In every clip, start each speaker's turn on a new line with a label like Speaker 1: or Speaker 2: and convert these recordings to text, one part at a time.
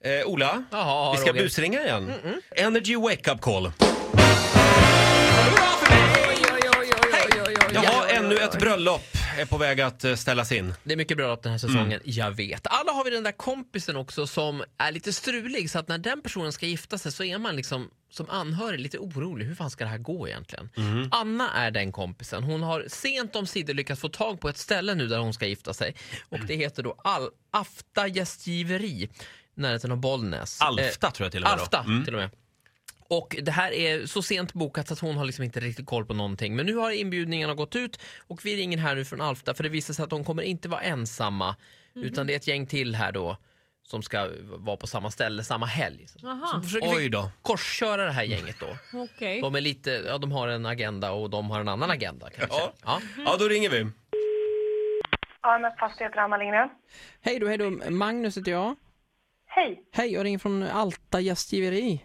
Speaker 1: Eh, Ola,
Speaker 2: Jaha,
Speaker 1: vi ska
Speaker 2: Roger. Mm,
Speaker 1: busringa igen. Energy wake up call.
Speaker 2: Oj, oj, oj, oj, oj, oj, oj,
Speaker 1: Jag har
Speaker 2: oj, oj,
Speaker 1: ännu
Speaker 2: oj.
Speaker 1: ett bröllop är på väg att eh, ställas in.
Speaker 2: Det är mycket bröllop den här säsongen,
Speaker 1: Mm.
Speaker 2: jag vet. Alla har vi den där kompisen också som är lite strulig så att när den personen ska gifta sig så är man liksom som anhörig lite orolig. Hur fan ska det här gå egentligen?
Speaker 1: Mm.
Speaker 2: Anna är den kompisen. Hon har sent om sidor lyckats få tag på ett ställe nu där hon ska gifta sig. Och det heter då Al- Afta gästgiveri, i närheten av Bollnäs. Eh,
Speaker 1: Alfta tror jag till och med. då.
Speaker 2: Alfta
Speaker 1: Mm.
Speaker 2: till och med. Och det här är så sent bokat så att hon har liksom inte riktigt koll på någonting. Men nu har inbjudningarna gått ut och vi ringer här nu från Alfta för det visar sig att de kommer inte vara ensamma utan det är ett gäng till här då som ska vara på samma ställe samma helg. Så
Speaker 3: Jaha,
Speaker 2: försöker
Speaker 1: Oj
Speaker 2: vi
Speaker 1: då.
Speaker 2: korsköra det här gänget då.
Speaker 3: okej.
Speaker 2: De, är lite, ja, de har en agenda och de har en annan agenda. Kan vi säga.
Speaker 1: Ja.
Speaker 2: Ja.
Speaker 1: Ja, då ringer vi.
Speaker 4: AMF Fastigheter, Anna-Lindgren.
Speaker 5: Hej då, hej då. Magnus heter jag.
Speaker 4: Hej!
Speaker 5: Hej, jag ringer från Alta gästgiveri.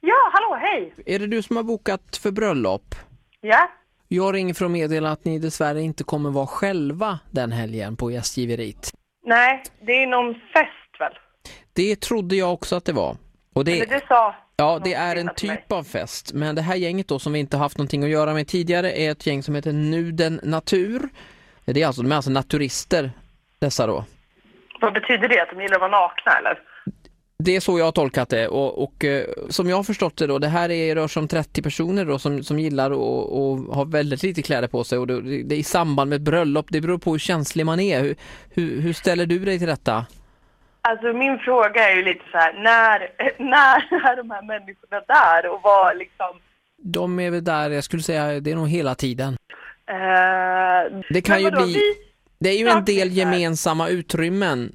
Speaker 4: Ja, hallå, hej!
Speaker 5: Är det du som har bokat för bröllop?
Speaker 4: Ja,
Speaker 5: Jag ringer för att meddela att ni dessvärre inte kommer vara själva den helgen på gästgiveriet.
Speaker 4: nej, det är någon fest väl?
Speaker 5: Det trodde jag också att det var. Och
Speaker 4: Eller
Speaker 5: det,
Speaker 4: du sa...
Speaker 5: ja,
Speaker 4: någon
Speaker 5: det är en
Speaker 4: kvinna till mig.
Speaker 5: typ av fest, men det här gänget då som vi inte haft någonting att göra med tidigare är ett gäng som heter Nuden Natur. Det är alltså, de är alltså naturister, dessa då.
Speaker 4: Vad betyder det? Att de gillar att vara nakna eller?
Speaker 5: Det är så jag har tolkat det och, och eh, som jag har förstått det då, det här är, rör sig om 30 personer då som, som gillar och, och har väldigt lite kläder på sig och det, det, det är i samband med ett bröllop, det beror på hur känslig man är. Hur, hur, hur ställer du dig till detta?
Speaker 4: Alltså min fråga är ju lite så här, när, när är de här människorna där och vad liksom...
Speaker 5: De är väl där, jag skulle säga, det är nog hela tiden.
Speaker 4: Eh,
Speaker 5: Det kan
Speaker 4: men
Speaker 5: ju
Speaker 4: vadå,
Speaker 5: bli-
Speaker 4: Vi,
Speaker 5: Det är ju en del
Speaker 4: Praktiskt där.
Speaker 5: gemensamma utrymmen.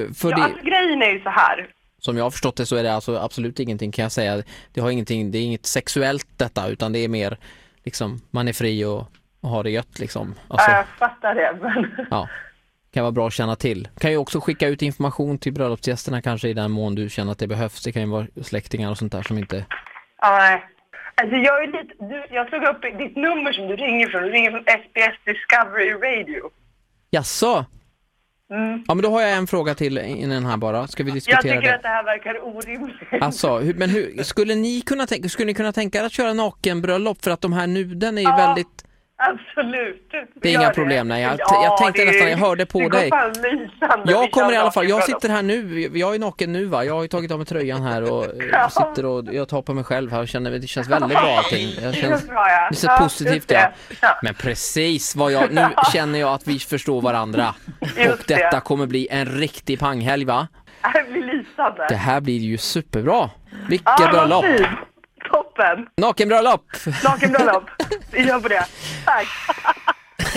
Speaker 5: eh, För
Speaker 4: ja,
Speaker 5: det,
Speaker 4: alltså, grejen är ju så här.
Speaker 5: som jag har förstått det så är det alltså absolut ingenting kan jag säga. Det, har ingenting, det är inget sexuellt detta utan det är mer liksom, man är fri och, och har det gött liksom. Alltså,
Speaker 4: Ja, jag fattar det men...
Speaker 5: Ja, kan vara bra att känna till. Kan ju också skicka ut information till bröllopsgästerna kanske i den mån du känner att det behövs. Det kan ju vara släktingar och sånt där som inte...
Speaker 4: Ja, nej. Alltså jag är lite... Du, jag slog upp ditt nummer som du ringer från. Du ringer från SBS Discovery Radio.
Speaker 5: Jaså?
Speaker 4: Mm.
Speaker 5: Ja men då har jag en fråga till innan här bara. Ska vi
Speaker 4: Jag
Speaker 5: diskutera
Speaker 4: tycker
Speaker 5: det?
Speaker 4: att det här verkar orimligt.
Speaker 5: Alltså, hur, men hur, skulle ni kunna tänka, skulle ni kunna tänka er att köra nakenbröllop för att de här nuden är ju
Speaker 4: Ja.
Speaker 5: väldigt...
Speaker 4: Absolut.
Speaker 5: Det är inga problem, nej. Jag- jag tänkte nästan, jag hörde på dig. Jag kommer i alla fall, jag sitter här nu, jag är naken nu va, jag har ju tagit av mig tröjan här och eh,
Speaker 4: Ja.
Speaker 5: sitter och jag tar på mig själv här och känner, det känns väldigt bra allting. Jag känns,
Speaker 4: bra, ja.
Speaker 5: det känns
Speaker 4: Ja, just
Speaker 5: positivt ja.
Speaker 4: det. Ja.
Speaker 5: Men precis vad jag, nu känner jag att vi förstår varandra. Och
Speaker 4: Just det.
Speaker 5: detta kommer bli en riktig panghelg va?
Speaker 4: Jag blir lysande.
Speaker 5: Det här blir ju superbra.
Speaker 4: Ja,
Speaker 5: Vilket
Speaker 4: vad
Speaker 5: bröllop!
Speaker 4: fint. Toppen!
Speaker 5: Nakenbröllop!
Speaker 4: Nakenbröllop. Vi gör på det. Tack!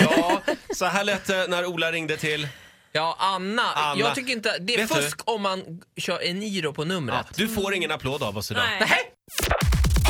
Speaker 1: Ja, så här lät det när Ola ringde till.
Speaker 2: Ja, Anna,
Speaker 1: Anna.
Speaker 2: jag tycker inte... Det är
Speaker 1: Vet du?
Speaker 2: fusk om man kör en giro på numret.
Speaker 1: Du får ingen applåd av oss idag.
Speaker 3: Nej.
Speaker 2: Nej.